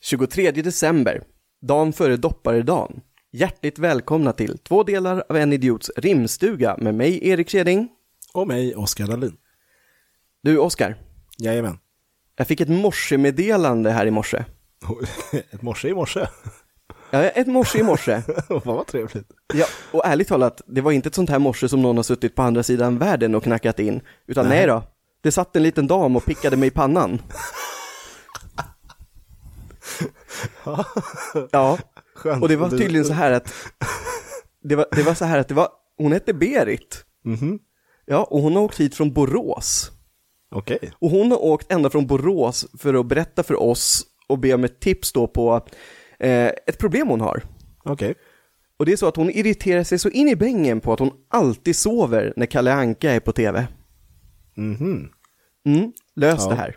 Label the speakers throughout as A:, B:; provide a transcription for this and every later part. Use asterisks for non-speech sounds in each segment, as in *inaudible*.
A: 23 december, dagen före dopparedagen. Hjärtligt välkomna till två delar av En Idiots rimstuga med mig, Erik Keding.
B: Och mig, Oskar Dahlin.
A: Du, Oskar,
B: Jajamän. *laughs*
A: jag fick ett morsemeddelande här i morse.
B: Ett morse i morse. *laughs*
A: Ja, ett morse i morse.
B: Fan vad trevligt.
A: Ja, och ärligt talat, det var inte ett sånt här morse som någon har suttit på andra sidan världen och knackat in, utan nej, då, det satt en liten dam och pickade mig i pannan. ja,
B: Skönt.
A: och det var
B: Du-
A: tydligen så här att, det var, det var så här att det var, hon hette Berit. Ja, och hon har åkt hit från Borås.
B: Okej.
A: Och hon har åkt ända från Borås för att berätta för oss och be om ett tips då på eh, ett problem hon har.
B: Okej.
A: Och det är så att hon irriterar sig så in i bängen på att hon alltid sover när Kalle Anka är på tv.
B: Mhm.
A: Mm, lös
B: Ja.
A: det här.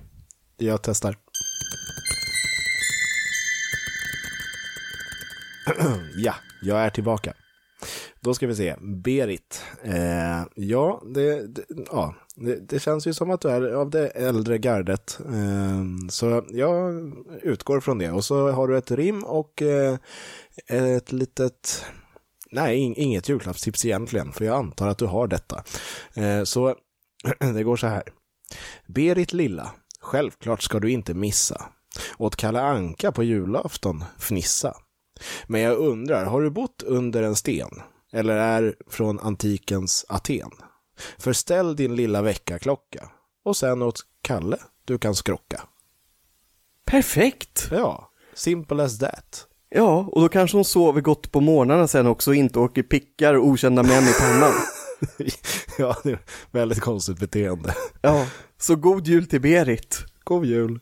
B: Jag testar. *clears throat* ja, jag är tillbaka. Då ska vi se. Berit. Eh, ja, det, det, ja det, det känns ju som att du är av det äldre gardet. Eh, så jag utgår från det. Och så har du ett rim och eh, ett litet... Nej, ing- inget julklappstips egentligen, för jag antar att du har detta. Eh, så *clears throat* det går så här. Berit lilla, självklart ska du inte missa. Åt Kalle Anka på julafton, fnissa. Men jag undrar, har du bott under en sten? Eller är från antikens Aten? Förställ din lilla väckarklocka. Och sen åt Kalle, du kan skrocka.
A: Perfekt!
B: Ja, simple as that. *laughs*
A: Ja, och då kanske hon sover gott på morgnarna sen också och inte åker pickar och okända män i pannan.
B: ja, det är väldigt konstigt beteende.
A: Ja, så god jul till Berit.
B: God jul.